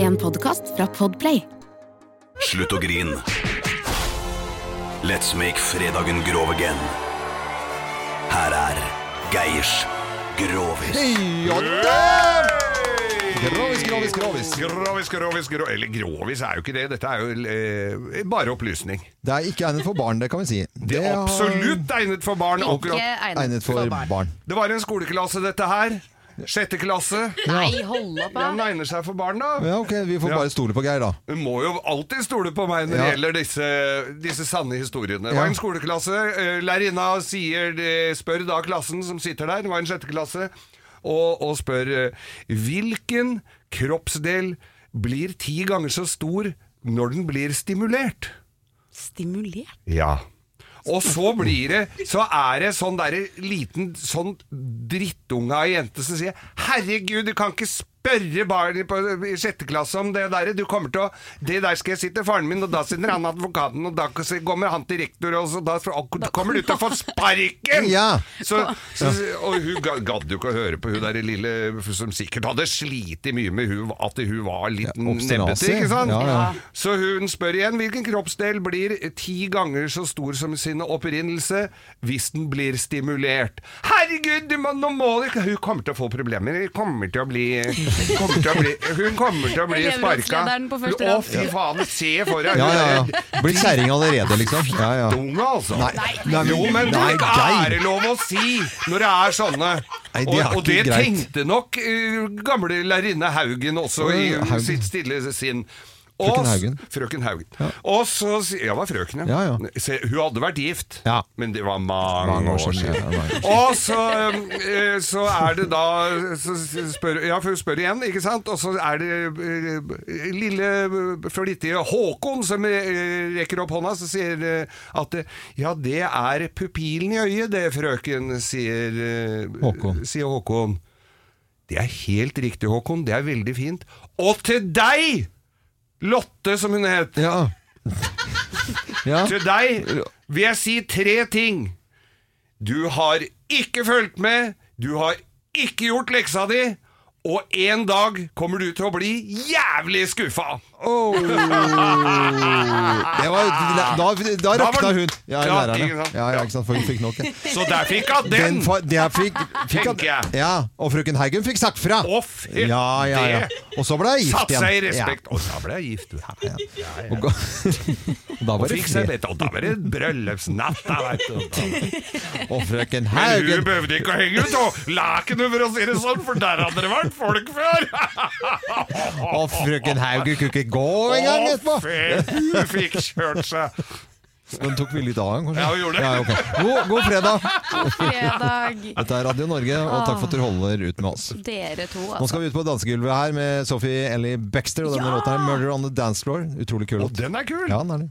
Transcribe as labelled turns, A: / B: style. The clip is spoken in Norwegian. A: En podkast fra Podplay.
B: Slutt å grin. Let's make fredagen grov again. Her er Geirs Grovis.
C: Ja da! Grovis, grovis, grovis.
D: Grovis, grovis, grovis Eller grovis er jo ikke det. Dette er jo eh, bare opplysning.
C: Det er ikke egnet for barn, det kan vi si.
D: Det er
C: har-
D: absolutt egnet for barn.
E: Ikke
D: akkurat.
C: egnet for barn.
D: Det var en skoleklasse, dette her. Sjette klasse.
E: Nei, hold opp,
D: Den
E: da.
D: egner seg for barn, da.
C: Ja, ok, Vi får
D: Ja.
C: bare stole på Geir, da.
D: Du må jo alltid stole på meg når det
C: Ja.
D: gjelder disse, disse sanne historiene. Det
C: Ja.
D: var en skoleklasse. eh, Lærerinna sier, eh, spør da klassen som sitter der, det var en sjette klasse, og, og spør eh, hvilken kroppsdel blir ti ganger så stor når den blir stimulert?
E: Stimulert?
D: Ja. Og så blir det Så er det sånn derre liten sånn drittunge av jente som sier 'Herregud, du kan ikke spørre barnet på i sjette klasse om det derre'. Du kommer til å 'Det der skal jeg si til faren min', og da sender han advokaten, og da kommer han til rektor, og så da og kommer du til å få sparken!
C: Ja.
D: Så, så, og hun ga- gadd jo ikke å høre på hun der lille som sikkert hadde slitt mye med hun, at hun var litt
C: Ja, obstinasi.
D: nebbete, ikke sant?
C: Ja, ja.
D: Så hun spør igjen hvilken kroppsdel blir ti ganger så stor som sin opprinnelse hvis den blir stimulert. Herregud, du må, nå må du ikke Hun kommer til å få problemer. Hun kommer til å bli kommer til å bli, Hun kommer til å bli sparka.
E: Elevrådslederen på første
D: Å,
E: rad.
D: fy faen, se for deg
C: Ja, ja,
D: hun der
C: ja. Blitt kjerring allerede, liksom. Ja, ja.
D: Dunge, altså.
C: Nei,
D: Jo, men det
C: nei,
D: er
C: Geir.
D: det lov å si når det er sånne.
C: Nei, det
D: og,
C: er
D: og det
C: ikke greit.
D: tenkte nok eh, gamle lærerinne Haugen også i
C: Oi, Haugen.
D: sitt stille sinn. Og
C: Frøken
D: s-
C: Haugen.
D: Frøken Haugen. Og så si- Ja, det var frøken, ja.
C: Ja, ja.
D: Se, hun hadde vært gift,
C: Ja.
D: men det var mange,
C: Mange
D: år siden.
C: ja, mange år
D: Og så, eh, så er det da så spør, Ja, for hun spør igjen, ikke sant? Og så er det eh, lille eh, flittige Håkon som eh, rekker opp hånda, så sier eh, at eh, Ja, det er pupillen i øyet, det, frøken, sier eh,
C: Håkon.
D: Sier Håkon. Det er helt riktig, Håkon. Det er veldig fint. Og til deg, Lotte, som hun het.
C: Ja. ja.
D: Til deg vil jeg si tre ting. Du har ikke fulgt med, du har ikke gjort leksa di, og en dag kommer du til å bli jævlig skuffa.
C: Oh. Det var, da da
D: Da var
C: rakna
D: den-
C: hun. Ja,
D: Ja,
C: lærerne.
D: ikke sant?
C: Ja, ja, ikke sant, for hun fikk nok. ja.
D: Så der fikk jeg den!
C: Den fa- der fikk, fikk
D: Tenker jeg.
C: Ja, og frøken Haugen fikk sagt fra.
D: Å, fy-
C: ja, ja, ja.
D: det
C: Og så ble jeg gift
D: Satt
C: igjen.
D: seg i respekt. Og da ble jeg gift. du.
C: Ja. Og, ga- da var det
D: Fikk seg
C: fred.
D: litt, og da var det bryllupsnatt. da, vet du.
C: Og frøken
D: Men hun
C: Haugen
D: behøvde ikke å henge ut og lakenet, for å si det sånn, for der hadde det vært folk før!
C: Og frøken Haugen kunne ikke gå engang etterpå!
D: Å, fy, hun fikk kjørt seg.
C: Den tok vi litt av, kanskje?
D: Ja, vi gjorde det.
C: Ja, ok. god, god fredag!
E: Fredag.
C: Dette er Radio Norge, og takk for at dere holder ut med oss.
E: Dere to,
C: Nå
E: altså.
C: skal vi ut på dansegulvet her med Sophie Ellie Baxter og denne
E: Ja!
C: låta her, 'Murder on the Dance Floor'. Utrolig kul
D: Og
C: låt.
D: den er kul!
C: Ja, den er det.